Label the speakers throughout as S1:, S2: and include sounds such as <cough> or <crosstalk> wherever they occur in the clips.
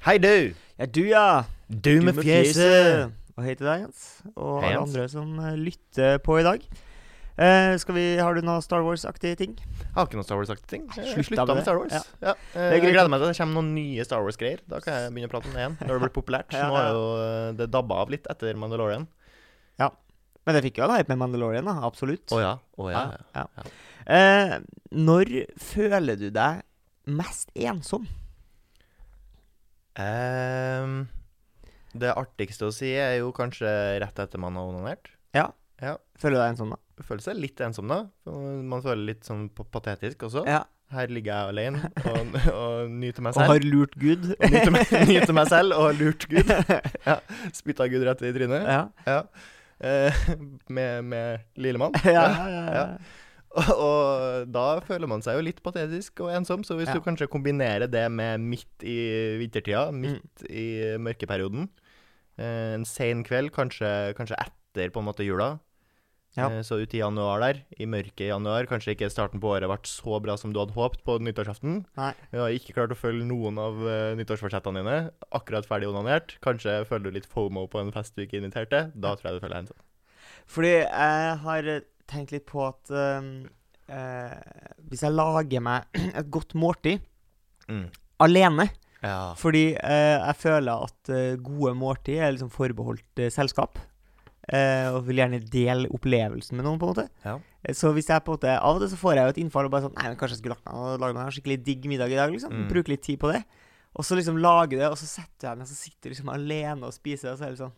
S1: Hei, du!
S2: Ja, du, ja.
S1: Du med fjeset!
S2: Og hei til deg, Jens. Og
S1: Hei,
S2: alle
S1: Jens.
S2: andre som eh, lytter på i dag. Eh, skal vi, Har du noe Star Wars-aktige ting?
S1: Jeg har ikke noen Star Wars-aktige ting. Jeg
S2: Slutta
S1: slutta
S2: med
S1: med
S2: det.
S1: Star Wars.
S2: Ja.
S1: Ja.
S2: er
S1: Eh, Jeg
S2: greit.
S1: gleder meg til at det kommer noen nye Star Wars-greier. Da kan jeg begynne å prate om det igjen. Da har det blitt populært.
S2: Ja,
S1: Nå er
S2: ja.
S1: jo eh, det dabba av litt etter Mandalorian.
S2: Men det fikk jo en hype med Mandalorian, da. Absolutt.
S1: Å ja. Å ja.
S2: Ja,
S1: ja.
S2: Eh, når føler du deg mest ensom?
S1: Ehm, det artigste å si er jo kanskje rett etter man har onanert.
S2: Føler du deg ensom, da?
S1: Føler seg litt ensom da. Man føler litt sånn pa- patetisk også.
S2: Ja.
S1: Her ligger jeg <laughs> alene og, og nyter meg
S2: Og
S1: selv.
S2: har lurt Gud?
S1: Nyter meg, <laughs> nyter meg selv og har lurt Gud. Ja. Spytta Gud rett i trynet.
S2: <laughs> ja.
S1: Ja. Eh, <laughs> med, med lillemann.
S2: <laughs> Ja, <laughs> ja, ja, ja.
S1: Ja. Og, og da føler man seg jo litt patetisk og ensom, så hvis
S2: Ja.
S1: du kanskje kombinerer det med midt i vintertida,
S2: Mm.
S1: midt i mørkeperioden, eh, en sen kveld, kanskje, kanskje etter på en måte jula,
S2: Ja.
S1: eh, så ut i januar der, i mørket i januar, kanskje ikke starten på året vært så bra som du hadde håpet på nyttårsaften.
S2: Nei.
S1: Du har ikke klart å følge noen av eh, nyttårsforsettene dine, akkurat ferdig onanert, kanskje føler du litt FOMO på en fest du ikke inviterte, da tror jeg du føler deg ensom.
S2: Fordi jeg har tenkt litt på at eh, eh, hvis jeg lager meg <clears throat> et godt måltid
S1: Mm.
S2: alene
S1: Ja.
S2: Fordi eh, jeg føler at eh, gode måltid er liksom forbeholdt eh, selskap. eh, og vil gjerne dele opplevelsen med noen, på en måte.
S1: Ja.
S2: Eh, Så hvis jeg på en måte Av og til så får jeg jo et innfall og bare sånn Nei, men kanskje jeg skulle lagt meg og lagd meg en skikkelig digg middag i dag, liksom.
S1: Mm.
S2: Bruke litt tid på det. Og så liksom lage det, og så setter jeg meg, så sitter jeg liksom alene og spiser, og så er det sånn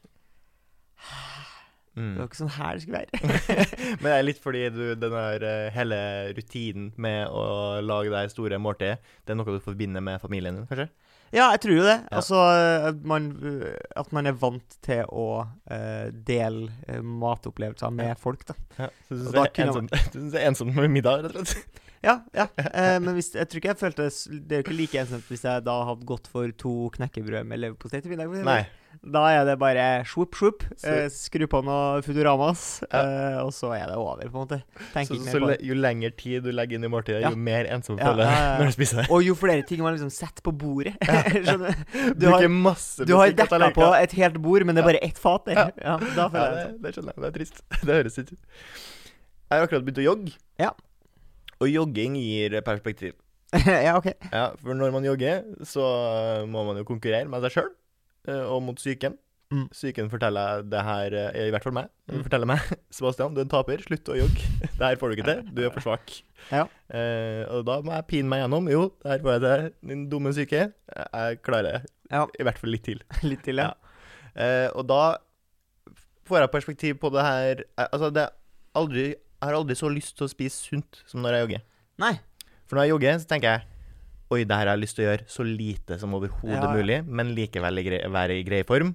S2: Det
S1: Mm.
S2: var ikke sånn her det skulle være.
S1: <laughs>
S2: <laughs>
S1: Men det er litt fordi du, den der eh, hele rutinen med å lage deg store måltider, det er noe du forbinder med familien din, kanskje?
S2: ja, jeg tror jo det.
S1: Ja.
S2: Altså at man, eh, at man er vant til å eh, dele eh, matopplevelser med folk, da.
S1: Ja. Så du
S2: Og
S1: syns
S2: da
S1: det, er
S2: kunne
S1: ensomt- <laughs> du synes det er ensomt med middag, rett og slett?
S2: Ja, ja. Eh, men hvis, jeg tror ikke jeg følte s- Det er jo ikke like ensomt hvis jeg da hadde gått for to knekkebrød med leverpostei til middag. for eksempel.
S1: Nei.
S2: Da er det bare swoop, swoop.
S1: Så-
S2: Eh, skru på noe Futuramas, eh, og så er det over, på en måte. Tenker
S1: Så,
S2: ikke
S1: så
S2: mer på
S1: le,
S2: det.
S1: jo lengre tid du legger inn i måltidet,
S2: Ja.
S1: jo mer ensom
S2: Ja,
S1: føler du
S2: ja, ja.
S1: deg når du spiser det.
S2: Og jo flere ting man liksom setter på bordet <laughs> Skjønner du? Du
S1: Bruker
S2: har,
S1: masse
S2: du
S1: bestikk
S2: har
S1: og
S2: dekka på
S1: tallerkener.
S2: et helt bord, men det er bare ett fat der.
S1: Ja.
S2: Ja, da
S1: ja,
S2: føler
S1: det,
S2: jeg det.
S1: det skjønner jeg. Det er trist. <laughs> Det høres ut. Jeg har akkurat begynt å jogge.
S2: Ja.
S1: Og jogging gir perspektiv.
S2: <laughs> ja, OK.
S1: Ja, for når man jogger, så eh, må man jo konkurrere med seg sjøl, og mot psyken.
S2: Mm.
S1: Psyken forteller det her, eh, i hvert fall meg,
S2: Mm.
S1: forteller meg <laughs> Sebastian, du er en taper, slutt å jogge. <laughs> Det her får du ikke til, du er for svak.
S2: Ja.
S1: Eh, og da må jeg pine meg gjennom. Jo, det her får jeg til, din dumme psyke. Jeg klarer det.
S2: Ja.
S1: I hvert fall litt til.
S2: Litt til, ja.
S1: Ja. Eh, og da får jeg perspektiv på det her eh, Altså, det er aldri, jeg har aldri så lyst til å spise sunt som når jeg jogger.
S2: Nei.
S1: For når jeg jogger, så tenker jeg Oi, det her har jeg lyst til å gjøre så lite som overhodet
S2: Ja, ja.
S1: mulig, men likevel i grei, være i grei form.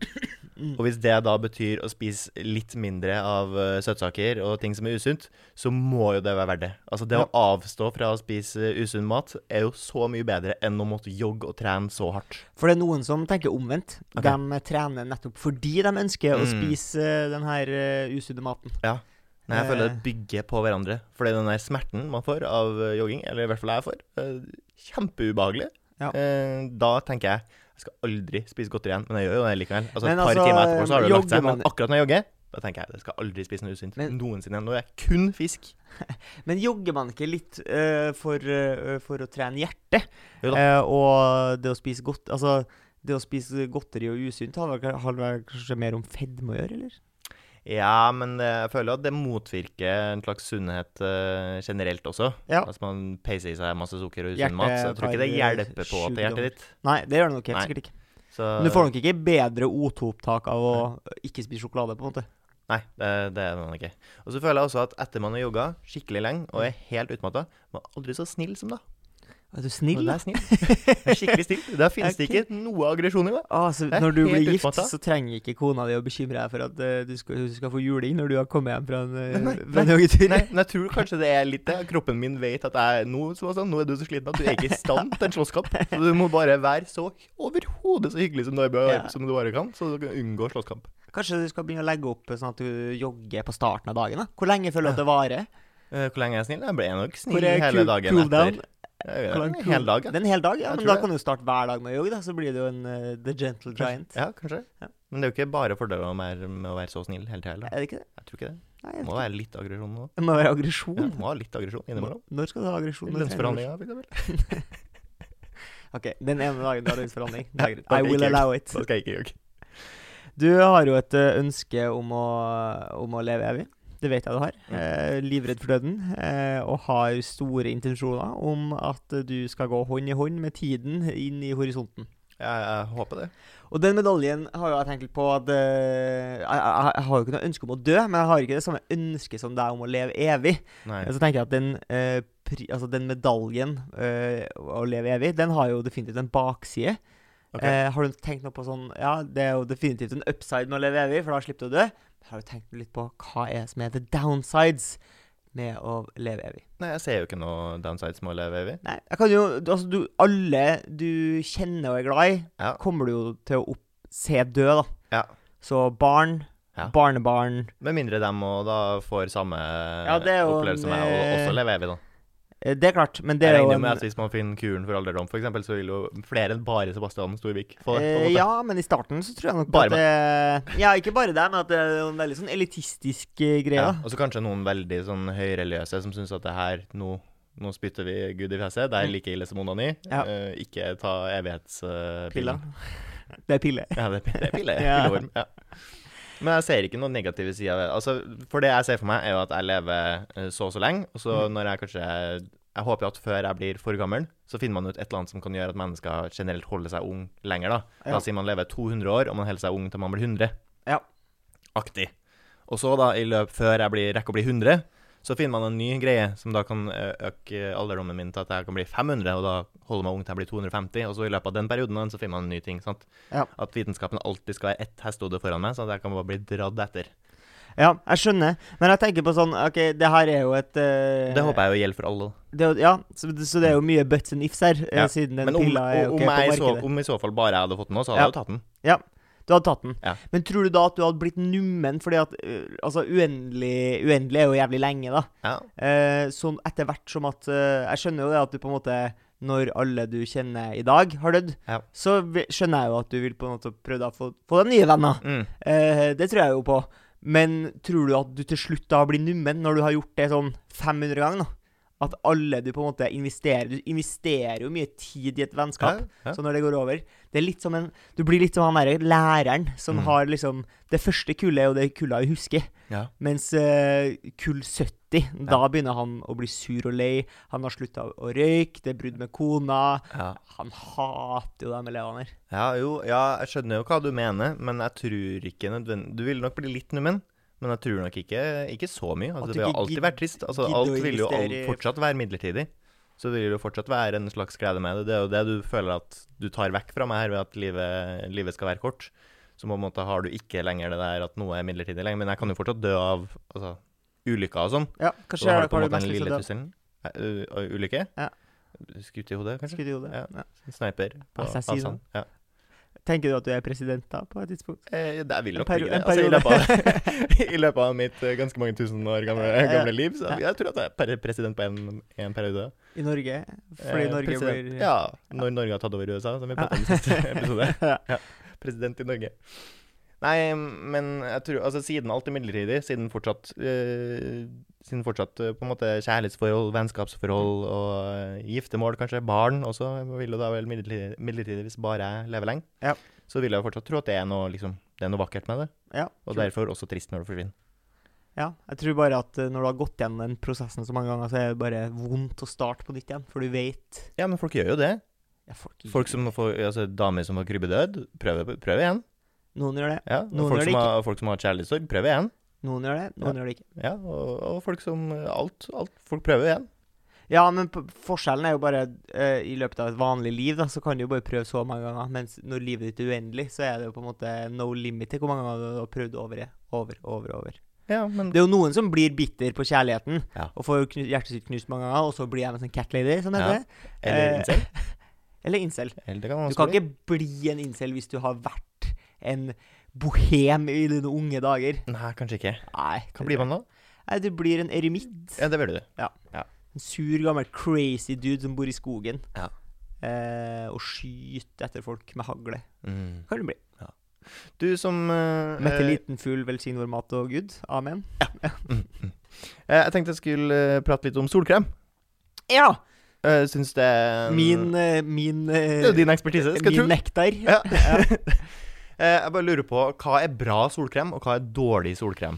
S2: Mm.
S1: Og hvis det da betyr å spise litt mindre av eh, søtsaker og ting som er usunt, så må jo det være verdt det. Altså det
S2: Ja.
S1: å avstå fra å spise eh, usunn mat er jo så mye bedre enn å måtte jogge og trene så hardt.
S2: For det er noen som tenker omvendt.
S1: Ok.
S2: De trener nettopp fordi de ønsker å
S1: Mm.
S2: spise eh, den her eh, usudde maten.
S1: Nei, jeg føler det
S2: Eh.
S1: bygger på hverandre. Fordi den der smerten man får av eh, jogging, eller i hvert fall jeg får, eh, kjempeubehagelig.
S2: Ja.
S1: Eh, Da tenker jeg jeg skal aldri spise godteri igjen, men jeg gjør jo det likevel. Altså
S2: Men
S1: Et par
S2: altså,
S1: timer etterpå så har det lagt
S2: jogger
S1: seg, men
S2: man-
S1: akkurat når jeg jogger, da tenker jeg jeg skal aldri spise noe usunt
S2: Men-
S1: noensinne igjen. Nå er jeg kun fisk.
S2: Men jogger man ikke litt eh, for, eh, for å trene hjertet?
S1: Jo da.
S2: Eh, og det å spise godt Altså, det å spise godteri og usunt har vel har vel kanskje mer om fedme å gjøre, eller?
S1: Ja, men eh, jeg føler at det motvirker en slags sunnhet eh, generelt også.
S2: Ja.
S1: Altså man peiser i seg masse sukker og
S2: Hjerte-
S1: usunn mat, så jeg tror ikke det
S2: par-
S1: hjelper på til hjertet ditt.
S2: Nei, det gjør det nok helt
S1: Nei.
S2: sikkert ikke.
S1: Så,
S2: Men du får nok ikke bedre O2-opptak av å ikke spise sjokolade, på en måte.
S1: Nei, det, det er man ikke. Og så føler jeg også at etter man har jogga skikkelig lenge og er helt utmatta, man er aldri så snill som da.
S2: Er du
S1: Og
S2: snill?
S1: det
S2: da?
S1: er snill. Det er skikkelig snill. <laughs> Der finnes det ikke noe aggresjon i meg.
S2: Ah, så
S1: Jeg er
S2: når du
S1: helt
S2: blir gift,
S1: utmatta.
S2: så trenger ikke kona di å bekymre deg for at eh, du, skal, du skal få juling når du har kommet hjem fra en, eh,
S1: Nei,
S2: <laughs> fra en joggetur.
S1: Nei, <laughs> men jeg tror kanskje det er litt det. Kroppen min vet at jeg nå, som jeg sa, nå er du så sliten at du er ikke i stand til en slåsskamp. Så du må bare være så overhodet så hyggelig som du,
S2: Ja.
S1: som du bare kan, så du kan unngå slåsskamp.
S2: Kanskje du skal begynne å legge opp eh, sånn at du jogger på starten av dagen? da Hvor lenge føler du at det varer?
S1: Eh, Hvor lenge er jeg snill? Jeg ble nok
S2: Hvor
S1: snill
S2: er
S1: hele
S2: cool-
S1: dagen
S2: cooldown?
S1: etter. Ja, ja,
S2: Hvor lang
S1: en hel dag, ja.
S2: Det er en hel dag, ja,
S1: Jeg
S2: men
S1: tror
S2: da
S1: det.
S2: kan du starte hver dag med jogg, da. Så blir det jo en eh, The Gentle Giant.
S1: Ja, kanskje.
S2: Ja.
S1: Men det er jo ikke bare fordeler med, med å være så snill hele tida.
S2: Er det ikke det?
S1: Jeg tror ikke det.
S2: Nei,
S1: Det
S2: jeg
S1: må
S2: vet ikke.
S1: være litt aggresjon nå.
S2: Det må være
S1: Ja,
S2: aggresjon.
S1: må ha litt aggresjon innimellom.
S2: Når skal du ha aggresjon? Når trener du?
S1: Lønnsforhandlinger, for eksempel.
S2: Ok, den ene dagen du
S1: <laughs>
S2: har lønnsforhandling. Det er greit.
S1: da
S2: I
S1: kan
S2: will
S1: jeg ikke
S2: allow it.
S1: Da skal jeg ikke jogge.
S2: Du har jo et eh, ønske om å, om å leve evig. Det vet jeg du har.
S1: Mm.
S2: Eh, livredd for døden. Eh, og har store intensjoner om at eh, du skal gå hånd i hånd med tiden inn i horisonten.
S1: Jeg, jeg håper det.
S2: Og den medaljen har jo jeg tenkt litt på at eh, jeg, jeg, jeg har jo ikke noe ønske om å dø, men jeg har ikke det samme ønsket som deg om å leve evig.
S1: Nei.
S2: Så tenker jeg at den, eh, pri, altså den medaljen, eh, å leve evig, den har jo definitivt en bakside.
S1: Ok.
S2: Eh, har du tenkt noe på sånn Ja, det er jo definitivt en upside med å leve evig, for da slipper du å dø. Men har du tenkt litt på hva er det som er the downsides med å leve evig?
S1: Nei, jeg ser jo ikke noe downsides med å leve evig.
S2: Nei, jeg kan jo du- Altså, du Alle du kjenner og er glad i,
S1: Ja.
S2: kommer du jo til å opp, se dø, da.
S1: Ja.
S2: Så barn,
S1: Ja.
S2: barnebarn
S1: Med mindre dem og da får samme
S2: det er jo
S1: opplevelse som
S2: en,
S1: meg, og også
S2: eh,
S1: leve evig, da.
S2: eh, Det er klart, men det
S1: Jeg
S2: er jo
S1: regner med
S2: en-
S1: at hvis man finner kuren for alderdom, for eksempel, så vil jo flere enn bare Sebastian Storvik få det. på en
S2: Eh,
S1: måte.
S2: ja, men i starten så tror jeg nok
S1: Bare
S2: at det Ja, ikke bare deg, men at det er jo en veldig sånn elitistisk eh, greie.
S1: Ja,
S2: da.
S1: og så kanskje noen veldig sånn høyreligiøse som syns at det her nå, nå spytter vi Gud i fjeset. Det er
S2: Mm.
S1: like ille som onani.
S2: Ja.
S1: Eh, ikke ta eh,
S2: Pilla.
S1: evighetspillen.
S2: Det er pille.
S1: Ja, det, det er pille.
S2: Ja.
S1: Pilleorm. Ja. Men jeg ser ikke noen negative sider ved det. Altså, for det jeg ser for meg, er jo at jeg lever eh, så og så lenge, og så
S2: Mm.
S1: når jeg kanskje Jeg håper jo at før jeg blir for gammel, så finner man ut et eller annet som kan gjøre at mennesker generelt holder seg ung lenger, da.
S2: Ja.
S1: La oss si man lever 200 år, og man holder seg ung til man blir 100.
S2: Ja.
S1: Aktig. Og så, da, i løp før jeg blir, rekker å bli 100, så finner man en ny greie som da kan ø- øke alderdommen min til at jeg kan bli 500, og da holder meg ung til jeg blir 250, og så i løpet av den perioden da, så finner man en ny ting. sant?
S2: Ja.
S1: At vitenskapen alltid skal være ett hestehode foran meg, så at jeg kan bare bli dratt etter.
S2: Ja, jeg skjønner. Men jeg tenker på sånn OK, det her er jo et eh,
S1: Det håper jeg jo gjelder for alle. da.
S2: det er jo- ja, så, så det er jo mye buts and ifs her, eh,
S1: Ja,
S2: siden den
S1: Men om,
S2: pilla er jo
S1: om,
S2: ikke
S1: jeg i
S2: på
S1: så,
S2: markedet.
S1: om i så fall bare jeg hadde fått den nå, så hadde
S2: Ja.
S1: jeg jo tatt den.
S2: Du hadde tatt den.
S1: Ja.
S2: Men tror du da at du hadde blitt nummen fordi at eh, Altså, uendelig, uendelig er jo jævlig lenge, da.
S1: Ja.
S2: Eh, sånn etter hvert som at eh, Jeg skjønner jo det at du på en måte Når alle du kjenner i dag, har dødd,
S1: Ja.
S2: så vi- skjønner jeg jo at du vil på en måte prøve å få, få deg nye venner.
S1: Mm.
S2: Eh, det tror jeg jo på. Men tror du at du til slutt da blir nummen når du har gjort det sånn 500 ganger? da? At alle du på en måte investerer Du investerer jo mye tid i et vennskap.
S1: Ja, ja.
S2: Så når det går over Det er litt som en Du blir litt som han derre læreren som
S1: Mm.
S2: har liksom Det første kullet er jo det kullet vi husker.
S1: Ja.
S2: Mens eh, kull 70, da begynner han å bli sur og lei. Han har slutta å røyke, det er brudd med kona.
S1: Ja.
S2: Han hater jo de elevene her.
S1: ja, jo, ja, jeg skjønner jo hva du mener, men jeg tror ikke nødvendig Du vil nok bli litt nummen, men jeg tror nok ikke, ikke så mye.
S2: At
S1: Altså,
S2: du
S1: det vil
S2: ikke
S1: alltid
S2: gidd-
S1: være trist. Altså,
S2: gidder å
S1: alt vil jo
S2: investere
S1: alt
S2: i-
S1: fortsatt være midlertidig. Så det vil jo fortsatt være en slags glede med det. Det er jo det du føler at du tar vekk fra meg her, ved at livet, livet skal være kort. Så på en måte har du ikke lenger det der at noe er midlertidig lenger. Men jeg kan jo fortsatt dø av altså, ulykker og sånn.
S2: Ja,
S1: Så
S2: kanskje
S1: da har du
S2: har
S1: på en
S2: du
S1: måte
S2: mest
S1: den
S2: lyst
S1: lille
S2: til å dø.
S1: trusselen. Eh, ø- ø- Ulykke?
S2: Ja.
S1: Skutt i hodet, kanskje?
S2: Skudd i hodet.
S1: Ja.
S2: Ja.
S1: Sniper på
S2: Altså, jeg sier
S1: avstand. Ja.
S2: Tenker du at du er president da, på et tidspunkt?
S1: Eh, det vil
S2: En
S1: nok bli
S2: perio- en
S1: det. Altså, i,
S2: periode.
S1: løpet av, <laughs> I løpet av mitt eh, ganske mange tusen år gamle,
S2: Ja.
S1: gamle liv, så
S2: Ja.
S1: jeg tror at jeg er per- president på én periode.
S2: <laughs> I Norge? Fordi
S1: Eh,
S2: Norge
S1: president-
S2: blir
S1: Ja, når Norge har tatt over USA, som vi
S2: Ja.
S1: pratet om i siste
S2: <laughs>
S1: episode.
S2: Ja.
S1: President i Norge. Nei, men jeg tror Altså, siden alt er midlertidig, siden fortsatt eh, Siden fortsatt eh, på en måte kjærlighetsforhold, vennskapsforhold og eh, giftermål, kanskje, barn også, vil jo da vel midlertidig, midlertidig hvis bare jeg lever lenge,
S2: Ja.
S1: så vil jeg fortsatt tro at det er noe, liksom, det er noe vakkert med det.
S2: Ja,
S1: Og
S2: tror-
S1: derfor også trist når det forsvinner.
S2: ja. Jeg tror bare at eh, når du har gått gjennom den prosessen så mange ganger, så er det bare vondt å starte på nytt igjen, for du vet
S1: Ja, men folk gjør jo det.
S2: ja, folk,
S1: Folk som får, altså Damer som får krybbedød, prøver, prøver igjen.
S2: Noen gjør det,
S1: Ja, og
S2: Noen gjør
S1: folk,
S2: det
S1: som har, folk som har kjærlighetssorg, prøver igjen.
S2: noen gjør det, noen gjør det ikke.
S1: Ja, og, og folk som Alt. alt folk prøver igjen.
S2: Ja, men p- forskjellen er jo bare eh, I løpet av et vanlig liv da, så kan du jo bare prøve så mange ganger. Mens når livet ditt er uendelig, så er det jo på en måte no limit til hvor mange ganger du har prøvd over det. Over, over, over.
S1: Ja, men
S2: Det er jo noen som blir bitter på kjærligheten
S1: Ja.
S2: og får knu- hjertet sitt knust mange ganger, og så blir jeg en sånn cat lady, som det
S1: Ja.
S2: heter.
S1: Eller
S2: eh,
S1: incel.
S2: Eller incel.
S1: Eller det kan man
S2: Du
S1: også bli.
S2: kan ikke bli en incel hvis du har vært en bohem i dine unge dager.
S1: Nei, kanskje ikke.
S2: Nei.
S1: Hva blir man da?
S2: Nei, du blir en eremitt.
S1: Ja, det blir du.
S2: En sur, gammel crazy dude som bor i skogen
S1: Ja.
S2: eh, og skyter etter folk med hagle.
S1: Mm.
S2: Kan det bli.
S1: Du som eh,
S2: Mette
S1: eh,
S2: liten fugl, velsign vår mat og gud. Amen.
S1: eh, Jeg tenkte jeg skulle eh, prate litt om solkrem.
S2: Ja!
S1: Uh, syns det er en-
S2: Min, eh, min,
S1: Det er jo
S2: eh,
S1: din ekspertise, skal jeg tro.
S2: min nektar.
S1: Ja. <laughs> Eh, jeg bare lurer på hva er bra solkrem, og hva er dårlig solkrem?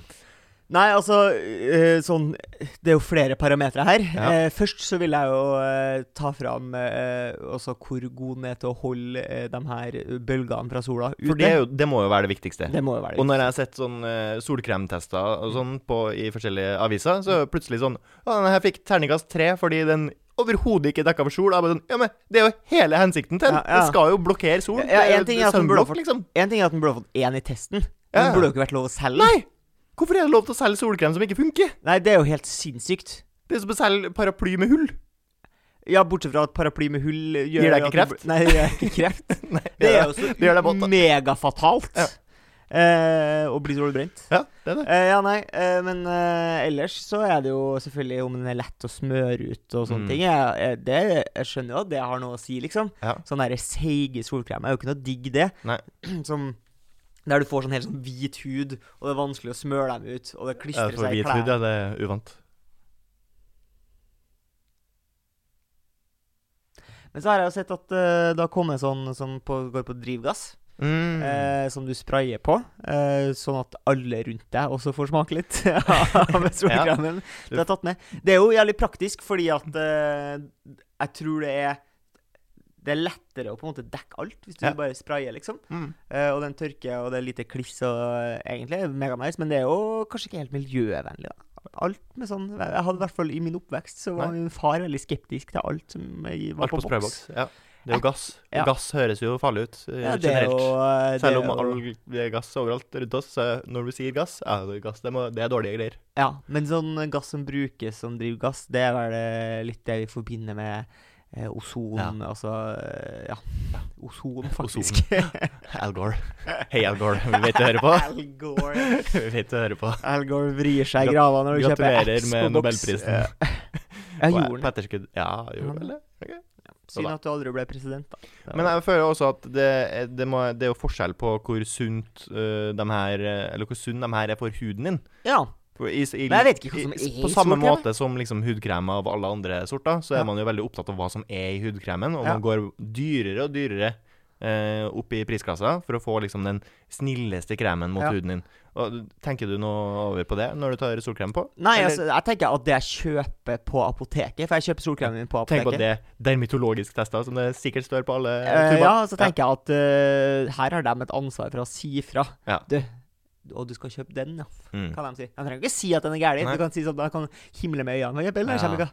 S2: Nei, altså eh, sånn Det er jo flere parametere her.
S1: Ja.
S2: Eh, Først så vil jeg jo eh, ta fram eh, også hvor god den er til å holde eh, de her bølgene fra sola ute.
S1: For det, er jo, det må jo være det viktigste.
S2: Det må jo være
S1: Og
S2: det.
S1: når jeg har sett sånn eh, solkremtester og sånn på, i forskjellige aviser, så er det plutselig sånn Å, den her fikk terningkast tre fordi den overhodet ikke er dekka av sol. Jeg bare sånn, ja, men det er jo hele hensikten til den!
S2: Ja, ja.
S1: Den skal jo blokkere sol.
S2: Ja,
S1: Det
S2: ja,
S1: er
S2: en
S1: jo
S2: ting er at den
S1: sunblock,
S2: burde ha fått-
S1: liksom.
S2: En ting er at den burde ha fått én i testen.
S1: Ja,
S2: Men
S1: ja.
S2: Den burde jo ikke vært lov å selge.
S1: Nei! Hvorfor er det lov til å selge solkrem som ikke funker?
S2: Nei, det er jo helt sinnssykt.
S1: Det er som å selge paraply med hull.
S2: Ja, bortsett fra at paraply med hull gjør
S1: Gir deg ikke
S2: at du-
S1: kreft?
S2: Nei, det gjør ikke
S1: <laughs>
S2: kreft.
S1: Nei,
S2: Det er jo
S1: det gjør deg
S2: så
S1: våt, da.
S2: megafatalt
S1: Ja.
S2: eh, å bli solbrent.
S1: Ja, det er det.
S2: Eh, ja, nei, eh, men eh, ellers så er det jo selvfølgelig om den er lett å smøre ut og sånne
S1: Mm.
S2: ting. Jeg, jeg, det, jeg skjønner jo at det har noe å si, liksom.
S1: Ja.
S2: Sånn derre seige solkrem er jo ikke noe digg, det.
S1: Nei.
S2: <clears throat> Som der du får sånn helt sånn hvit hud, og det er vanskelig å smøre dem ut, og det
S1: Ja,
S2: klistrer
S1: For
S2: seg i
S1: hvit hud,
S2: klærne.
S1: ja, det er uvant.
S2: Men så har jeg jo sett at eh, det har kommet sånn som på, går på drivgass,
S1: Mm.
S2: eh, som du sprayer på, eh, sånn at alle rundt deg også får smake litt <laughs> av solkremen. Det er tatt med. Det er jo jævlig praktisk, fordi at eh, jeg tror det er det er lettere å på en måte dekke alt hvis du
S1: Ja.
S2: bare sprayer, liksom.
S1: Mm.
S2: Eh, og den tørker, og det er lite kliss, og eh, egentlig er det mega nice, men det er jo kanskje ikke helt miljøvennlig, da. Alt med sånn Jeg hadde i hvert fall i min oppvekst, så var
S1: Nei.
S2: min far veldig skeptisk til alt som jeg var
S1: Alt på
S2: på boks.
S1: sprayboks. Ja. Det er jo gass. Og
S2: Ja.
S1: Gass høres jo farlig ut eh,
S2: Ja, det er
S1: generelt.
S2: jo eh, det er
S1: Selv om
S2: jo-
S1: all det er gass overalt rundt oss, så når du sier gass, ja, det er gass, det, må, det er dårlige greier.
S2: Ja, men sånn gass som brukes som drivgass, det er vel eh, litt det vi forbinder med eh, ozon,
S1: Ja.
S2: altså eh, Ja. Ozon,
S1: Ozon.
S2: faktisk.
S1: Al Gore. <laughs> Hei, Al Gore. Vi vet du hører på.
S2: Al Gore.
S1: <laughs> Vi vet du hører på.
S2: Al Gore vrir seg i
S1: Grat-
S2: grava når du kjøper
S1: Gratulerer
S2: X på
S1: med
S2: boks.
S1: Nobelprisen.
S2: Ja, Jeg gjorde
S1: På
S2: det.
S1: etterskudd. Ja, gjorde du vel det?
S2: Synd at du aldri ble president, da. Det
S1: Men
S2: var-
S1: jeg føler også at det, er- det, må, det er jo forskjell på hvor sunt øh, de her øh, Eller hvor sunn de her er for huden din.
S2: ja.
S1: For i- i-
S2: Men jeg vet ikke hva som
S1: i-
S2: er i
S1: På samme
S2: solkrem,
S1: måte som liksom hudkrem av alle andre sorter, så er
S2: Ja.
S1: man jo veldig opptatt av hva som er i hudkremen, og
S2: Ja.
S1: man går dyrere og dyrere eh, opp i prisklassa for å få liksom den snilleste kremen mot
S2: Ja.
S1: huden din. Og, tenker du noe over på det når du tar solkrem på?
S2: Nei,
S1: Eller-
S2: altså, jeg tenker at det jeg kjøper på apoteket For jeg kjøper solkremen min på
S1: Tenk på det
S2: apoteket.
S1: dermitologisk testa, som det sikkert står på alle
S2: Eh,
S1: tuber.
S2: ja, så tenker jeg at eh, her har de et ansvar for å si fra.
S1: Ja.
S2: Du, og du skal kjøpe den, ja.
S1: Mm.
S2: Kan de si. De trenger ikke si at den er gæren.
S1: Nei.
S2: Du kan si sånn, da kan himle med øynene. Kjøp den,
S1: Ja.
S2: ja.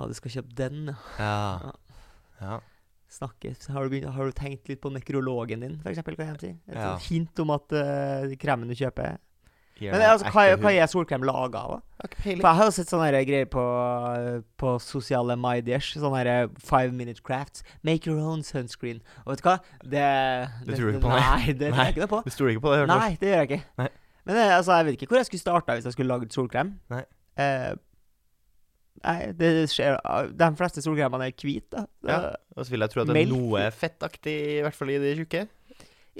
S2: Å, du skal kjøpe den, ja.
S1: Ja. ja.
S2: Snakke. Har du, begynt, har du tenkt litt på nekrologen din, for eksempel? Kan jeg si? Et
S1: Ja.
S2: sånt hint om at eh, kremen du kjøper
S1: Gir
S2: Men
S1: deg
S2: altså, hva,
S1: ekte
S2: er- hva er solkrem laga av? da?
S1: hud. Har ikke peiling.
S2: For jeg har jo sett sånne her greier på, på sosiale mydiers. Sånne her eh, five minute crafts. Make your own sunscreen. Og vet du hva? Det
S1: Det tror du ikke på,
S2: nei.
S1: nei.
S2: Nei, det tror
S1: Nei.
S2: jeg ikke noe på.
S1: Det stoler ikke på det. jeg hørte
S2: Nei, det gjør jeg ikke.
S1: Nei.
S2: Men eh, altså, jeg vet ikke hvor jeg skulle starta hvis jeg skulle lagd solkrem.
S1: Nei.
S2: Eh, nei, det skjer eh, De fleste solkremene er hvite, da.
S1: Ja. Og så vil jeg tro at det er
S2: Melk.
S1: noe fettaktig, i hvert fall i det tjukke.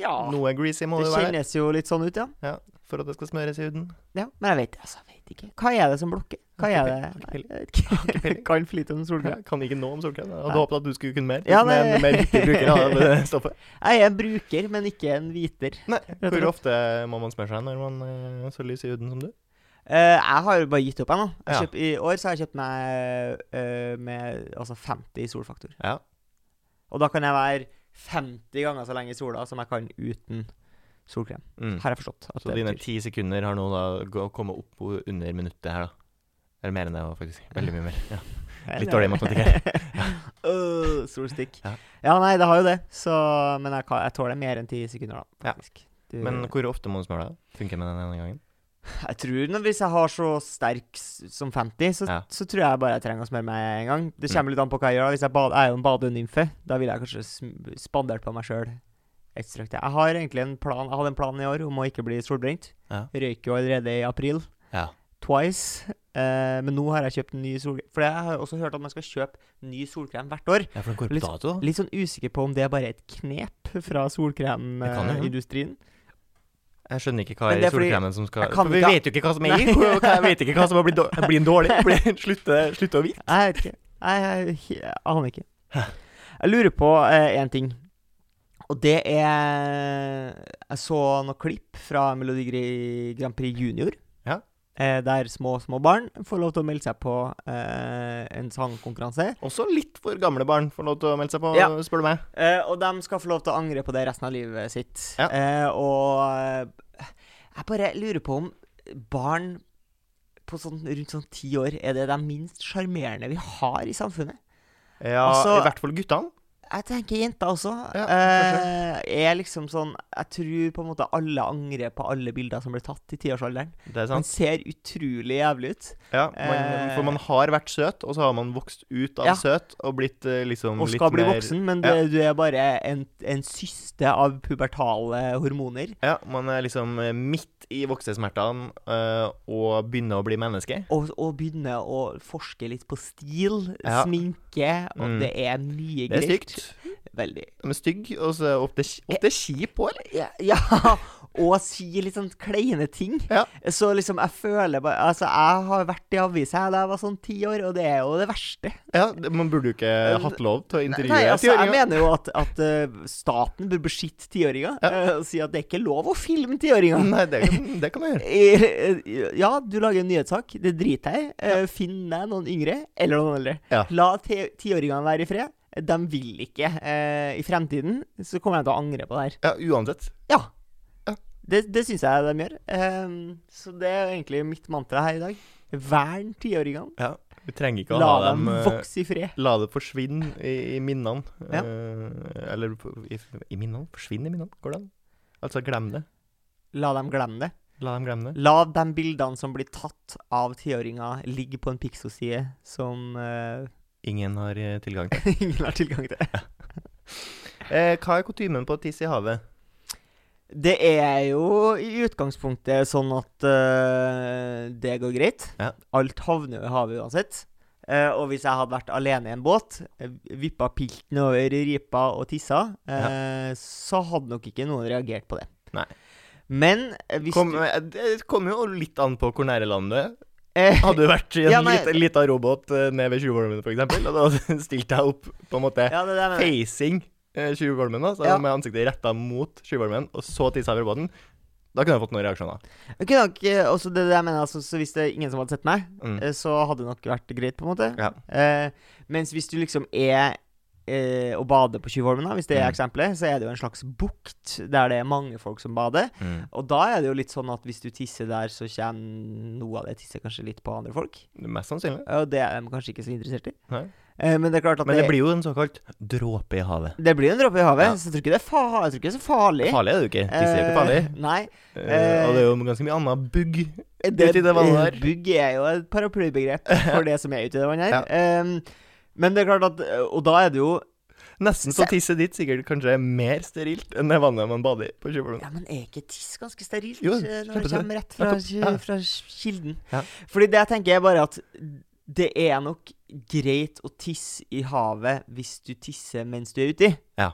S2: ja.
S1: Noe greasy må
S2: Ah, Det
S1: det være
S2: kjennes jo litt sånn ut, ja.
S1: for at det skal smøres i huden.
S2: ja. Men jeg vet, altså, jeg vet ikke. Hva er det som blokker? Hva
S1: Har
S2: er det
S1: ikke
S2: Nei,
S1: peiling,
S2: <laughs> jeg vet ikke.
S1: peiling.
S2: Kan flyte om solkrem.
S1: Jeg kan ikke nå om solkrem. Jeg
S2: Nei.
S1: hadde håpet at du skulle kunne mer.
S2: Ja,
S1: som er
S2: nei.
S1: en mer riktig bruker <laughs> av det stoffet.
S2: Jeg er en bruker, men ikke en hviter.
S1: Nei,
S2: og
S1: Hvor
S2: slett.
S1: ofte må man smøre seg når man eh, er så lys i huden som du?
S2: Eh, jeg har jo bare gitt opp, jeg nå. Jeg
S1: Ja.
S2: kjøp, I år så har jeg kjøpt meg eh, med altså 50 i solfaktor.
S1: Ja.
S2: Og da kan jeg være 50 ganger så lenge i sola som jeg kan uten solkrem.
S1: Mm.
S2: Har jeg forstått. at
S1: Så
S2: det
S1: dine
S2: betyr.
S1: ti sekunder har nå da gå- kommet opp o- under minuttet her, da. Eller mer enn det, var faktisk. Veldig mye mer. Ja. litt dårlig
S2: <laughs>
S1: matematikk
S2: Øh, solstikk.
S1: Ja.
S2: Ja. nei, det har jo det. Så, men jeg, kan, jeg tåler mer enn 10 sekunder, da.
S1: Ja.
S2: Faktisk. Du-
S1: Men hvor ofte må du smøre deg? Funker med den ene gangen?
S2: Jeg tror når, Hvis jeg har så sterk s- som 50, så,
S1: Ja. Mm.
S2: så tror jeg bare jeg trenger å smøre meg en gang. Det kommer litt an på hva jeg gjør. da. Hvis jeg, bad, jeg er jo en badenymfe. Da ville jeg kanskje sm- spandert på meg sjøl et strøk til. Jeg har egentlig en plan Jeg hadde en plan i år om å ikke bli solbrent.
S1: Ja.
S2: Røyk jo allerede i april.
S1: Ja.
S2: Twice. Eh, men nå har jeg kjøpt en ny solkrem. For jeg har også hørt at man skal kjøpe ny solkrem hvert år.
S1: Ja, for den går
S2: Litt-
S1: på dato.
S2: Litt sånn usikker på om det er bare et knep fra
S1: Det kan jo hende.
S2: solkremindustrien.
S1: Jeg skjønner ikke hva
S2: Men
S1: i
S2: det er fordi-
S1: solkremen som skal
S2: Jeg kan
S1: For Vi
S2: ikke-
S1: vet jo ikke hva som er <laughs> i.
S2: Nei.
S1: hvor- hva- Jeg vet ikke hva som har blitt dårlig. Blir den <laughs> dårlig? Blir den slutte, slutte å virke?
S2: Jeg vet ikke. Jeg, jeg, jeg aner ikke. Jeg lurer på én ting. Og det er Jeg så noen klipp fra Melodi Gri- Grand Prix Junior.
S1: Ja.
S2: Eh, der små, små barn får lov til å melde seg på eh, en sangkonkurranse.
S1: Også litt for gamle barn får lov til å melde seg på,
S2: Ja.
S1: spør du meg.
S2: Eh, og de skal få lov til å angre på det resten av livet sitt.
S1: Ja.
S2: Eh, og eh, jeg bare lurer på om barn på sånn, rundt sånn ti år er det de minst sjarmerende vi har i samfunnet.
S1: Ja,
S2: Altså-
S1: I hvert fall guttene.
S2: Jeg tenker jenter også.
S1: Ja,
S2: eh, er liksom sånn Jeg tror på en måte alle angrer på alle bilder som ble tatt i tiårsalderen.
S1: Det er
S2: Man
S1: sant.
S2: ser utrolig jævlig ut.
S1: Ja, man,
S2: eh,
S1: for man har vært søt, og så har man vokst ut av
S2: Ja.
S1: søt og blitt eh, liksom
S2: Og
S1: litt
S2: skal bli
S1: mer
S2: voksen, men du, du er bare en, en syste av pubertale hormoner.
S1: Ja, man er liksom eh, midt i voksesmertene eh, og begynner å bli menneske.
S2: Og, og begynner å forske litt på stil,
S1: Ja.
S2: sminke, og
S1: Mm.
S2: det er mye
S1: Det er
S2: greit.
S1: stygt.
S2: Veldig.
S1: De er stygge, og så ofte, ofte kjip òg, eller?
S2: Ja, ja, <laughs> og si litt sånn kleine ting.
S1: Ja.
S2: Så liksom, jeg føler bare Altså, jeg har vært i avisa da jeg var sånn ti år, og det er jo det verste.
S1: Ja, det, man burde jo ikke hatt lov til å intervjue
S2: Nei, altså, jeg
S1: tiåringer.
S2: mener jo at, at eh, staten bør beskytte tiåringer
S1: Ja.
S2: eh, og si at det er ikke lov å filme tiåringer.
S1: Nei, det, kan- det kan man gjøre.
S2: Eh, eh, Ja, du lager en nyhetssak, det driter jeg i. Eh, Finn deg noen yngre eller noen eldre.
S1: Ja.
S2: La ti- tiåringene være i fred. De vil ikke. eh, I fremtiden så kommer jeg til å angre på det her.
S1: Ja, uansett.
S2: Ja.
S1: Ja.
S2: Det, det syns jeg de gjør. Ehm, så det er jo egentlig mitt mantra her i dag. Vern tiåringene.
S1: Ja, Vi trenger ikke å
S2: La
S1: ha
S2: dem
S1: dem eh,
S2: vokse i fred.
S1: La det forsvinne i, i minnene.
S2: Ja.
S1: Eh, eller på- i, i minnene? Forsvinne i minnene? Går det an? Altså, glem det.
S2: La dem glemme det.
S1: La dem glemme det.
S2: La de bildene som blir tatt av tiåringer, ligge på en Pixo-side som eh, <laughs>
S1: Ingen har eh, tilgang til.
S2: ingen har tilgang til.
S1: <laughs> Eh, hva er kutymen på å tisse i havet?
S2: Det er jo i utgangspunktet sånn at eh, det går greit.
S1: Ja.
S2: Alt havner jo i havet uansett. Eh, og hvis jeg hadde vært alene i en båt, eh, vippa pilten over ripa og tissa, eh, så hadde nok ikke noen reagert på det.
S1: Nei.
S2: Men eh, hvis
S1: Kom,
S2: du
S1: eh, det kommer jo litt an på hvor nære landet du er.
S2: eh,
S1: Hadde du vært i en
S2: Ja, nei.
S1: liten- lita robåt eh, ned ved Tjuvholmen, for eksempel, og da hadde du stilt deg opp på en måte
S2: <laughs> Ja, det der med
S1: facing eh, Tjuvholmen, da, så
S2: Ja.
S1: med ansiktet retta mot Tjuvholmen, og så tissa over båten, da kunne jeg fått noen reaksjoner.
S2: Ok, nok, eh, også det der mener jeg, altså, så Hvis det er ingen som hadde sett meg,
S1: Mm.
S2: eh, så hadde det nok vært greit, på en måte.
S1: Ja.
S2: Eh, mens hvis du liksom er eh, og bader på Tjuvholmen, da, hvis det er
S1: Mm.
S2: eksempelet, så er det jo en slags bukt der det er mange folk som bader.
S1: Mm.
S2: Og da er det jo litt sånn at hvis du tisser der, så kommer noe av det tisset kanskje litt på andre folk.
S1: Mest sannsynlig.
S2: Og det er de kanskje ikke så interessert i.
S1: Nei.
S2: Eh, men det er klart at
S1: Men det blir jo en såkalt dråpe i havet.
S2: det blir en dråpe i havet,
S1: Ja.
S2: så jeg tror ikke det er, fa jeg tror ikke det er så farlig.
S1: Farlig er det jo ikke. Tisse er jo
S2: Eh,
S1: ikke farlig.
S2: Nei.
S1: Eh, og det er jo ganske mye annet bugg.
S2: Det,
S1: Ute i det vannet der.
S2: Bugg er jo et paraplybegrep
S1: <laughs>
S2: for det som er ute i det vannet
S1: Ja.
S2: her. Ehm, men det er klart at Og da er det jo
S1: Nesten så tisset ditt sikkert kanskje er mer sterilt enn det vannet man bader i på Tjuvholmen.
S2: Ja, men er ikke tiss ganske sterilt
S1: Jo,
S2: eh, når det
S1: kjempesterilt.
S2: kommer rett fra,
S1: Nettopp, ja.
S2: fra kilden?
S1: Ja.
S2: Fordi det jeg tenker, er bare at det er nok greit å tisse i havet hvis du tisser mens du er uti.
S1: Ja.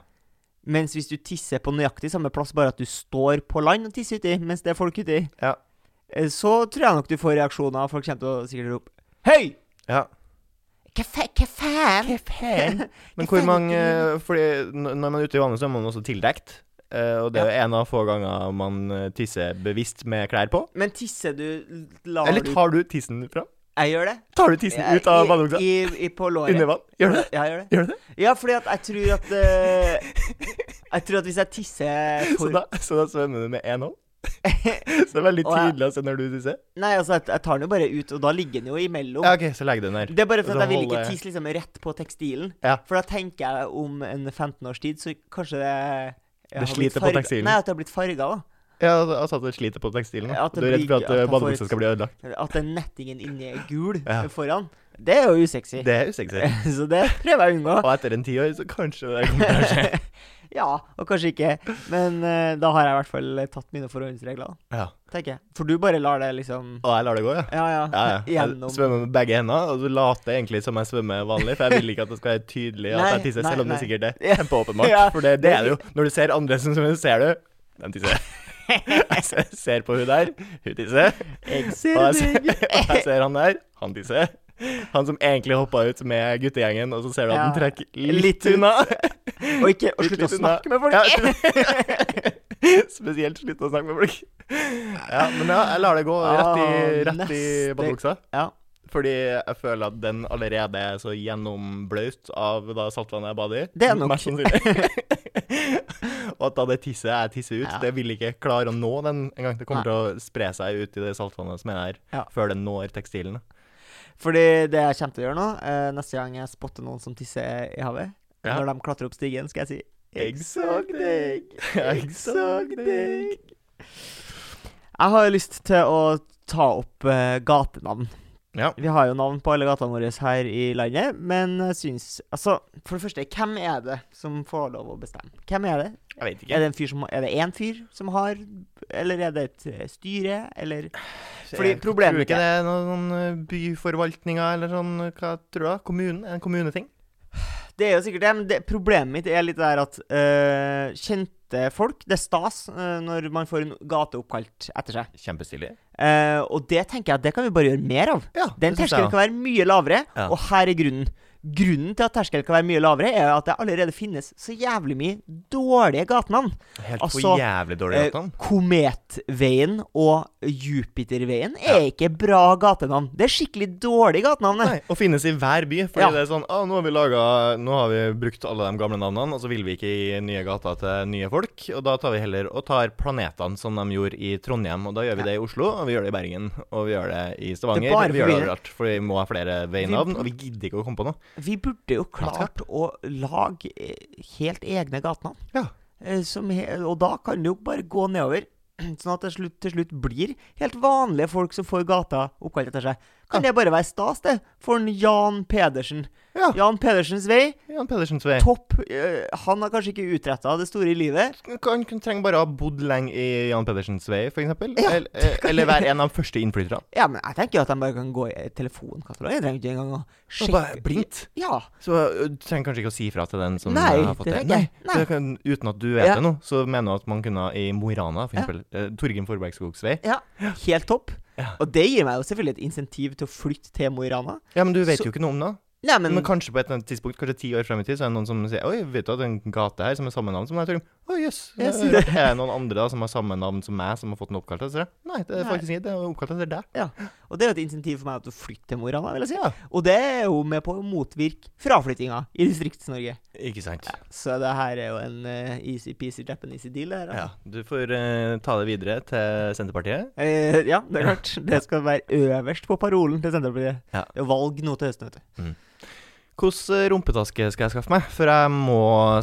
S2: Mens hvis du tisser på nøyaktig samme plass, bare at du står på land og tisser uti mens det er folk uti,
S1: Ja.
S2: eh, så tror jeg nok du får reaksjoner. Folk kommer til å sikkert rope Hei!
S1: Ja.
S2: Hva fa- hva faen?
S1: <laughs> Men hvor mange Fordi n- når man er ute i vannet, så er man også tildekt. Eh, og det er jo en av få ganger man eh, tisser bevisst med klær på.
S2: Men tisser du lar
S1: Eller
S2: du-
S1: tar du tissen fra?
S2: Jeg gjør det.
S1: Tar du tissen ut av badebuksa?
S2: I, i, i, på låret.
S1: Under vann? Gjør du det?
S2: Ja, jeg gjør det.
S1: Gjør du det?
S2: Ja, fordi at jeg tror at eh, Jeg tror at hvis jeg tisser
S1: <laughs> Så
S2: for
S1: da, så da svømmer du med én
S2: <laughs>
S1: hånd? Så det er veldig
S2: Å, ja.
S1: tydelig å se når du tisser?
S2: Nei, altså, jeg, jeg tar den jo bare ut, og da ligger den jo imellom.
S1: Ja, OK, så legger du den der.
S2: Det er bare for
S1: Så
S2: at jeg vil ikke
S1: holder-
S2: tisse liksom rett på tekstilen.
S1: Ja.
S2: For da tenker jeg om en 15 års tid, så kanskje det jeg
S1: Det
S2: har blitt
S1: sliter på
S2: farga-
S1: tekstilen.
S2: Nei, at det har blitt farga, da.
S1: Ja, altså at det sliter på tekstilen? da.
S2: At det
S1: Du er redd
S2: blir-
S1: for at,
S2: at
S1: eh,
S2: jeg får
S1: badebuksa
S2: et-
S1: skal bli ødelagt?
S2: At den nettingen inni er gul
S1: Ja.
S2: foran. Det er jo usexy. <laughs>
S1: Det er usexy.
S2: Så det prøver jeg å unngå.
S1: Og etter en tiår, så kanskje det kommer til å skje.
S2: <laughs> Ja, og kanskje ikke. Men eh, da har jeg i hvert fall tatt mine forhåndsregler, da,
S1: Ja.
S2: tenker jeg. For du bare lar det liksom
S1: Og jeg lar det gå, ja.
S2: Ja, ja.
S1: Ja,
S2: <laughs>
S1: ja. Jeg
S2: Gjennom
S1: svømmer med begge hender, og så later jeg egentlig som jeg svømmer vanlig, for jeg vil ikke at det skal være tydelig at
S2: Nei,
S1: jeg tisser,
S2: nei,
S1: selv om det
S2: nei. <laughs>
S1: sikkert er
S2: Ja.
S1: kjempeåpenbart.
S2: Ja.
S1: For det, det er det
S2: <laughs>
S1: jo. Når du ser andre som svømmer, så ser du De tisser. <laughs> Jeg ser- ser på hun der, hun tisser.
S2: Jeg
S1: Og
S2: ser
S1: jeg ser, <laughs>
S2: deg.
S1: og jeg ser han der, han tisser. Han som egentlig hoppa ut med guttegjengen, og så ser du at han
S2: Ja.
S1: trekker litt,
S2: Litt ut.
S1: unna.
S2: <laughs> Og ikke og
S1: Litt
S2: slutt å
S1: litt unna.
S2: snakke med folk. <laughs>
S1: Ja, Spesielt slutt å snakke med folk. Ja, men ja, jeg lar det gå rett i,
S2: Ah,
S1: rett i
S2: neste-
S1: badebuksa.
S2: Ja.
S1: Fordi jeg føler at den allerede er så gjennomblaut av da saltvannet jeg bader i.
S2: Det er nok.
S1: Mest sannsynlig. <laughs> og at da det tisset jeg tisser ut,
S2: Ja.
S1: det vil ikke klare å nå den engang. Det kommer til å spre seg ut i det saltvannet som er der,
S2: Ja.
S1: før det når
S2: <laughs>
S1: tekstilen.
S2: Fordi det jeg kommer til å gjøre nå, eh, neste gang jeg spotter noen som tisser i havet,
S1: Ja.
S2: når de klatrer opp stigen, skal jeg si
S1: Jeg så deg, jeg så deg.
S2: Jeg har lyst til å ta opp eh, gatenavn.
S1: Ja.
S2: Vi har jo navn på alle gatene våre her i landet, men jeg syns Altså, for det første, hvem er det som får lov å bestemme? Hvem er det?
S1: Jeg vet
S2: Er
S1: ikke.
S2: det en fyr som, er det én fyr som har Eller er det et eh, styre, eller fordi
S1: Jeg
S2: problemet
S1: Tror du
S2: er-
S1: ikke det er noen sånn byforvaltninga eller sånn, hva tror du? da? Kommunen? Er det En kommuneting?
S2: Det er jo sikkert det, men det, problemet mitt er litt det der at eh, kjente folk Det er stas eh, når man får en gate oppkalt etter seg.
S1: Kjempestilig.
S2: Eh, og det tenker jeg at det kan vi bare gjøre mer av.
S1: Ja,
S2: Den
S1: det synes jeg
S2: terskelen
S1: også.
S2: kan være mye lavere,
S1: Ja.
S2: og her er grunnen. Grunnen til at terskelen kan være mye lavere, er at det allerede finnes så jævlig mye dårlige gatenavn.
S1: Helt
S2: Altså,
S1: for jævlig dårlig
S2: Eh,
S1: gjort, han.
S2: Kometveien og Jupiterveien er ikke bra gatenavn. Det er skikkelig dårlig gatenavn. det.
S1: Nei, og finnes i hver by. Fordi
S2: Ja.
S1: det er sånn ah, nå, har vi laget, nå har vi brukt alle de gamle navnene, og så vil vi ikke gi nye gater til nye folk. Og da tar vi heller og tar planetene som de gjorde i Trondheim. Og da gjør vi det i Oslo, og vi gjør det i Bergen, og vi gjør det i
S2: Det er bare
S1: Stavanger. Vi gjør det
S2: forvirring.
S1: overalt, for vi må ha flere veinavn, og vi gidder ikke å komme på noe.
S2: Vi burde jo klart
S1: Latskap.
S2: å lage eh, helt egne gatenavn.
S1: Ja.
S2: Eh, Som he og da kan det jo bare gå nedover. <clears throat> Sånn at det slutt, til slutt blir helt vanlige folk som får gata oppkalt etter seg. Kan det bare være stas, det? For en Jan Pedersen.
S1: Ja.
S2: Jan Pedersens vei,
S1: Jan Pedersens vei.
S2: topp. eh, Han har kanskje ikke utretta det store i livet.
S1: Han kunne- trenger bare å ha bodd lenge i Jan Pedersens vei, f.eks. eksempel
S2: Ja,
S1: Eller, eh, eller være en av de første innflytterne.
S2: Ja, men jeg tenker jo at de bare kan gå i telefonkatalogen. Jeg trenger ikke engang å
S1: Og bare
S2: sjekke.
S1: Blindt.
S2: Ja.
S1: Så ø, du trenger kanskje ikke å si fra til den som
S2: Nei,
S1: ø, har fått
S2: det
S1: det?
S2: trenger
S1: Nei,
S2: jeg. Nei.
S1: Så jeg kan, Uten at du vet
S2: Ja.
S1: det nå, så mener jeg at man kunne ha i Mo i Rana, for
S2: Ja.
S1: eksempel. Ja. Torgrim Forbergskogs vei.
S2: ja. Helt topp.
S1: Ja.
S2: Og det gir meg jo selvfølgelig et insentiv til å flytte til Mo i Rana.
S1: Ja, men du vet
S2: Så-
S1: jo ikke noe om det.
S2: Nei,
S1: Men,
S2: men
S1: kanskje på et eller annet tidspunkt, kanskje ti år frem i tid, så er det noen som sier Oi, vet du at det er en gate her som er samme navn som meg, Torgrim? Å jøss. det
S2: Yes.
S1: er rart. Er det noen andre da som har samme navn som meg, som har fått den oppkalt etter deg? Nei, det er
S2: Nei.
S1: faktisk ikke. Det er oppkalt etter deg.
S2: Ja, og det er jo et insentiv for meg til å flytte til Mo i Rana. vil jeg si.
S1: Ja.
S2: Og det er jo med på å motvirke fraflyttinga i Distrikts-Norge.
S1: Ikke sant.
S2: Så det her er jo en eh, easy-peasy Japanese deal. det her,
S1: Ja.
S2: altså.
S1: Du får eh, ta det videre til Senterpartiet.
S2: Eh, ja, det er klart. Det skal være øverst på parolen til Senterpartiet.
S1: Ja.
S2: Det er jo valg nå til høsten, vet du.
S1: Hvilken rumpetaske skal jeg skaffe meg? For jeg må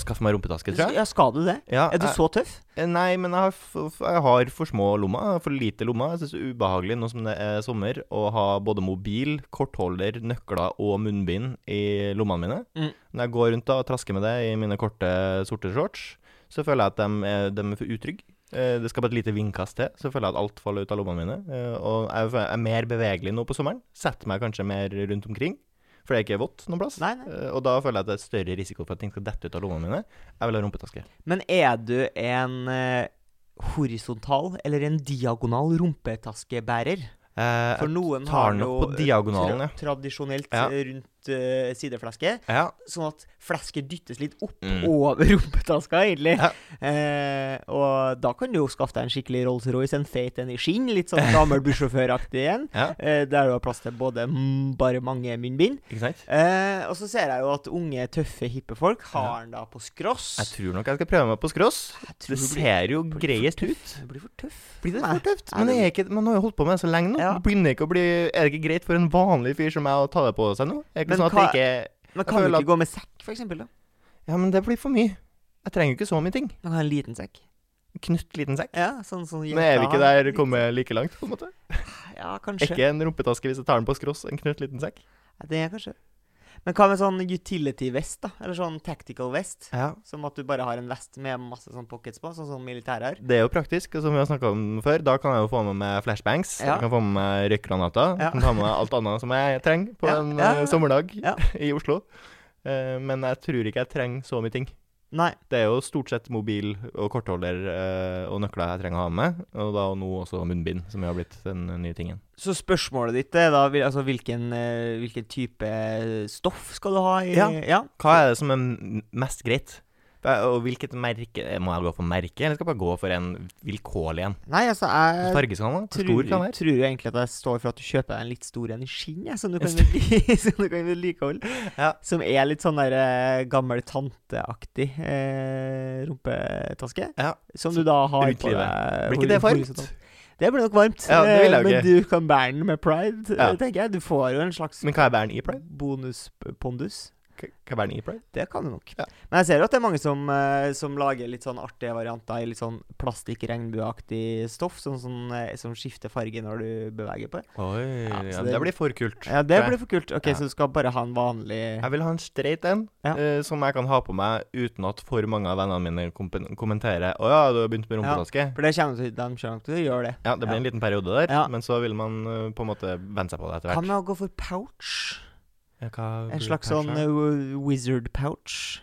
S1: skaffe meg rumpetaske, tror jeg.
S2: Ja, skal du det?
S1: Ja,
S2: Er du
S1: jeg-
S2: så tøff?
S1: Eh, Nei, men jeg har, f- f- jeg har for små lommer. jeg har For lite lommer. Jeg syns det er ubehagelig nå som det er sommer, å ha både mobil, kortholder, nøkler og munnbind i lommene mine.
S2: Mm.
S1: Når jeg går rundt da og trasker med det i mine korte, sorte shorts, så føler jeg at de er, dem er for utrygge. Eh, Det skal bare et lite vindkast til, så føler jeg at alt faller ut av lommene mine. Eh, Og jeg er- er mer bevegelig nå på sommeren. Setter meg kanskje mer rundt omkring, for det er ikke vått noen plass.
S2: Nei, nei.
S1: Eh, Og da føler jeg at det er større risiko for at ting skal dette ut av lommene mine. Jeg vil ha rumpetaske.
S2: Men er du en eh, horisontal eller en diagonal rumpetaskebærer?
S1: Eh,
S2: For noen
S1: tar
S2: har
S1: den
S2: jo eh,
S1: opp på diagonalen,
S2: tra tradisjonelt
S1: Ja.
S2: eh, rundt eh, sideflesket.
S1: ja.
S2: sånn at flesket dyttes litt opp
S1: Mm.
S2: over <laughs> rumpetaska, egentlig.
S1: Ja.
S2: Eh, og da kan du jo skaffe deg en skikkelig Rolls-Royce, en feit en i skinn, litt sånn gammel bussjåføraktig en,
S1: Ja.
S2: eh, der du har plass til både mm, bare mange munnbind.
S1: Ikke sant?
S2: Eh, og så ser jeg jo at unge, tøffe, hippe folk har den da på skross.
S1: Jeg tror nok jeg skal prøve meg på skross.
S2: Jeg tror
S1: Det
S2: du blir,
S1: ser jo
S2: blir for
S1: greiest ut.
S2: du blir for tøff.
S1: Blir det
S2: Nei.
S1: for tøft?
S2: Nei,
S1: Men
S2: det-
S1: er ikke, man har jo holdt på med det så lenge nå.
S2: Ja.
S1: Det Begynner ikke å bli Er det ikke greit for en vanlig fyr som meg å ta det på seg nå? Er det ikke
S2: Men
S1: sånn at det
S2: hva-
S1: ikke
S2: Men
S1: Jeg
S2: kan du
S1: føler
S2: ikke gå med sekk, for eksempel, da?
S1: Ja, men det blir for mye. Jeg trenger jo ikke så mye ting.
S2: Du kan ha en liten sekk.
S1: Knøtt liten sekk.
S2: Ja, sånn som
S1: Men er vi ikke
S2: jenta har.
S1: der kommet like langt, på en måte?
S2: Ja, kanskje.
S1: Ikke en rumpetaske hvis jeg tar den på skross, en knøtt liten sekk.
S2: Ja, Det er kanskje Men hva med sånn utility vest, da? Eller sånn tactical vest?
S1: Ja.
S2: Som at du bare har en vest med masse sånn pockets på, sånn som militære har.
S1: Det er jo praktisk, som vi har snakka om før. Da kan jeg jo få med meg flashbangs.
S2: Ja.
S1: Jeg kan få med meg røykgranater.
S2: Ja.
S1: Kan ta med meg alt annet som jeg trenger på
S2: Ja,
S1: en
S2: ja,
S1: eh,
S2: ja.
S1: sommerdag
S2: Ja.
S1: <laughs> i Oslo. Eh, men jeg tror ikke jeg trenger så mye ting.
S2: Nei.
S1: Det er jo stort sett mobil og kortholder eh, og nøkler jeg trenger å ha med. Og da og nå også munnbind, som jo har blitt den nye tingen.
S2: Så spørsmålet ditt er da vil- altså, hvilken, eh, hvilken type eh, stoff skal du ha i
S1: Ja.
S2: ja.
S1: Hva er det som er m- mest greit? Det er- Og hvilket merke Må jeg gå for merke, eller skal jeg bare gå for en vilkårlig en?
S2: Nei, altså, jeg
S1: Fargeskanne? Hvor
S2: tror,
S1: stor kan den være?
S2: tror jo egentlig at jeg står for at du kjøper deg en litt stor en i skinn, jeg, som du kan vedli- <laughs> som du kan vedlikeholde.
S1: Ja.
S2: Som er litt sånn der eh, gammel tanteaktig eh, rumpetaske.
S1: Ja.
S2: Som du da har
S1: Rundt
S2: på
S1: livet.
S2: deg.
S1: Blir ikke det
S2: hor-
S1: varmt?
S2: horisontalt. Det blir nok varmt.
S1: Ja, det vil jeg
S2: eh, men
S1: ikke.
S2: du kan bære den med pride,
S1: Ja.
S2: eh, tenker jeg. Du får jo en slags
S1: Men hva er bæren i pride?
S2: bonuspondus.
S1: Hva hva er bæren i pride?
S2: Det kan du nok.
S1: Ja.
S2: Men jeg ser jo at det er mange som, eh, som lager litt sånn artige varianter i litt sånn plastikk-regnbueaktig stoff, sånn, som, eh, som skifter farge når du beveger på det.
S1: Oi,
S2: Ja,
S1: ja,
S2: så
S1: det,
S2: det-
S1: blir for kult.
S2: Ja, det
S1: Tror
S2: blir
S1: jeg.
S2: for kult. Ok,
S1: Ja.
S2: Så du skal bare ha en vanlig
S1: Jeg vil ha en streit en
S2: Ja.
S1: eh, som jeg kan ha på meg uten at for mange av vennene mine kompen- kommenterer 'Å ja, du har begynt med
S2: Ja.
S1: rumpetaske'. Ja.
S2: For det kommer til de kommer nok til å gjøre det.
S1: det blir
S2: Ja.
S1: en liten periode der,
S2: Ja.
S1: men så vil man eh, på en måte venne seg på det etter
S2: Hva
S1: hvert.
S2: med å gå for pouch?
S1: Ja, hva
S2: En
S1: blir
S2: slags
S1: kanskje?
S2: sånn eh, wizard pouch.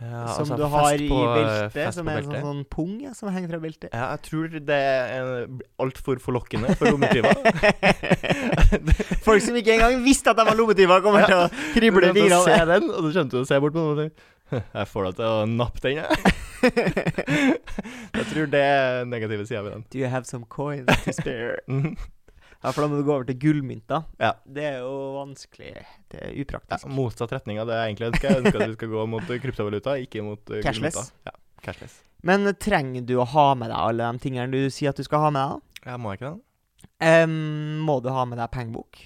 S1: ja,
S2: som
S1: altså,
S2: du
S1: fest
S2: har
S1: på,
S2: i
S1: eh,
S2: beltet,
S1: fest
S2: som
S1: på
S2: er en
S1: beltet.
S2: sånn, sånn pung ja, som henger fra beltet.
S1: Ja, jeg tror det er altfor forlokkende for lommetyver.
S2: <laughs>
S1: <laughs>
S2: Folk som ikke engang visste at de var lommetyver, kommer til å krible i
S1: Du skjønte å
S2: fingrene.
S1: se den, og du skjønte å se bort på den, og du, <laughs> Jeg får deg til å nappe den, jeg.
S2: <laughs>
S1: jeg tror det er negative sider ved den.
S2: Do you have some coins to spare?
S1: <laughs> Mhm.
S2: Ja, for da må du gå over til gullmynter.
S1: Ja.
S2: Det er jo vanskelig. Det er
S1: Ja,
S2: upraktisk.
S1: motsatt retning av det jeg egentlig ønsker. Jeg ønsker at vi skal gå mot eh, kryptovaluta, ikke mot eh,
S2: Cashless.
S1: gullmynter. Ja, cashless.
S2: Men trenger du å ha med deg alle de tingene du sier at du skal ha med deg?
S1: Ja, må jeg ikke den?
S2: Em, må du ha med deg pengebok?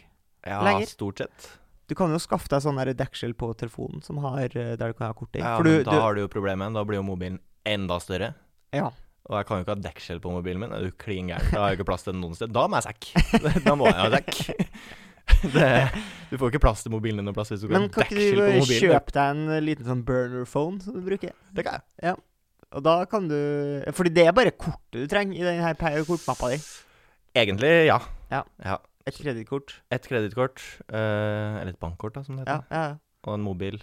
S1: Ja,
S2: Lenger.
S1: stort sett.
S2: Du kan jo skaffe deg sånn der deksel på telefonen som har, eh, der du kan ha kort i.
S1: Ja,
S2: For
S1: men
S2: du,
S1: da
S2: du,
S1: har du <laughs> jo problemet. Da blir jo mobilen enda større.
S2: ja.
S1: Og jeg kan jo ikke ha deksel på mobilen min. Er du klin gæren? Da har jeg ikke plass til den noen sted. Da må jeg
S2: <laughs>
S1: sekk. Da må jeg ha sekk. Det, du får ikke plass til mobilen din noe plass hvis du ikke
S2: Men
S1: har
S2: kan ikke
S1: deksel
S2: du
S1: på
S2: eh,
S1: mobilen.
S2: kjøpe deg en eh, liten sånn burner phone som du bruker?
S1: Det kan jeg.
S2: Og da kan du Fordi det er bare kortet du trenger i denne kortmappa di.
S1: Egentlig, ja.
S2: Et kredittkort.
S1: Et kredittkort, eh, eller et bankkort, da, som det
S2: Ja,
S1: heter,
S2: ja.
S1: og en mobil.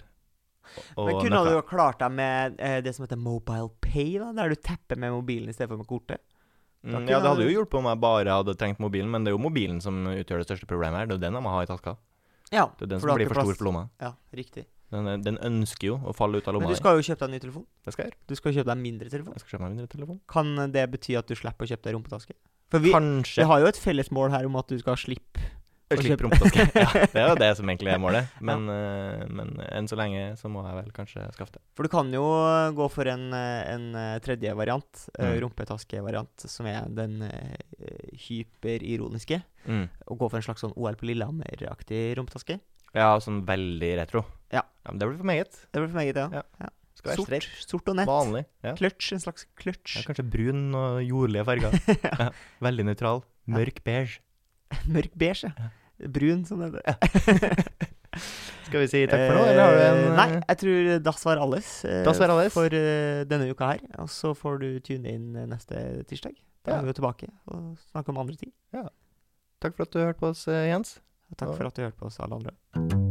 S1: Og
S2: Men kunne du
S1: nøkler.
S2: jo klart deg med eh, det som heter Mobile Pay, da, der du tapper med mobilen i stedet for med kortet? da
S1: Mm, Ja,
S2: kunne
S1: det hadde
S2: du-
S1: jo hjulpet om jeg bare hadde trengt mobilen, men det er jo mobilen som utgjør det største problemet her. Det er jo den jeg må ha i taska.
S2: Ja,
S1: Det er jo den
S2: for du
S1: som
S2: har
S1: blir
S2: ikke
S1: for stor
S2: plass.
S1: for lomma.
S2: ja riktig.
S1: Den, er- den ønsker jo å falle ut av
S2: Men
S1: lomma
S2: du
S1: di.
S2: skal jo kjøpe deg en ny telefon.
S1: Det skal jeg gjøre.
S2: Du skal kjøpe deg en mindre telefon.
S1: Jeg skal kjøpe meg mindre telefon.
S2: Kan det bety at du slipper å kjøpe deg rumpetaske? For vi, vi
S1: Kanskje
S2: har jo et felles mål her om at du skal slippe å
S1: jeg
S2: kjøpe- <laughs>
S1: slipper rumpetaske. ja, det er jo det som egentlig er målet. Men, eh, men enn så lenge så må jeg vel kanskje skaffe det.
S2: For du kan jo gå for en, eh, en eh, tredje variant, eh,
S1: Mm.
S2: rumpetaskevariant, som er den eh, hyperironiske.
S1: Mm.
S2: Og gå for en slags sånn OL på Lillehammer-aktig rumpetaske.
S1: Ja, sånn veldig retro.
S2: Ja.
S1: men det blir for meget.
S2: Det blir for meg, det.
S1: Ja.
S2: Ja.
S1: Skal være
S2: Sort,
S1: streit.
S2: sort og nett.
S1: Vanlig. Ja.
S2: Kløtsj. En slags kløtsj.
S1: Ja, kanskje brun og jordlige
S2: <laughs>
S1: farger. ja. Veldig nøytral. Mørk beige.
S2: Mørk beige. ja. Brun, som det heter.
S1: Skal vi si takk for nå, eller har du en
S2: Eh,
S1: eh,
S2: Nei, jeg tror das var alles, eh,
S1: Das var alles.
S2: for eh, denne uka her. Og så får du tune inn eh, neste tirsdag. Da
S1: Ja.
S2: er vi jo tilbake og snakker om andre ting.
S1: Takk for at du hørte på oss, eh, Jens.
S2: Og takk for at du hørte på oss, alle andre.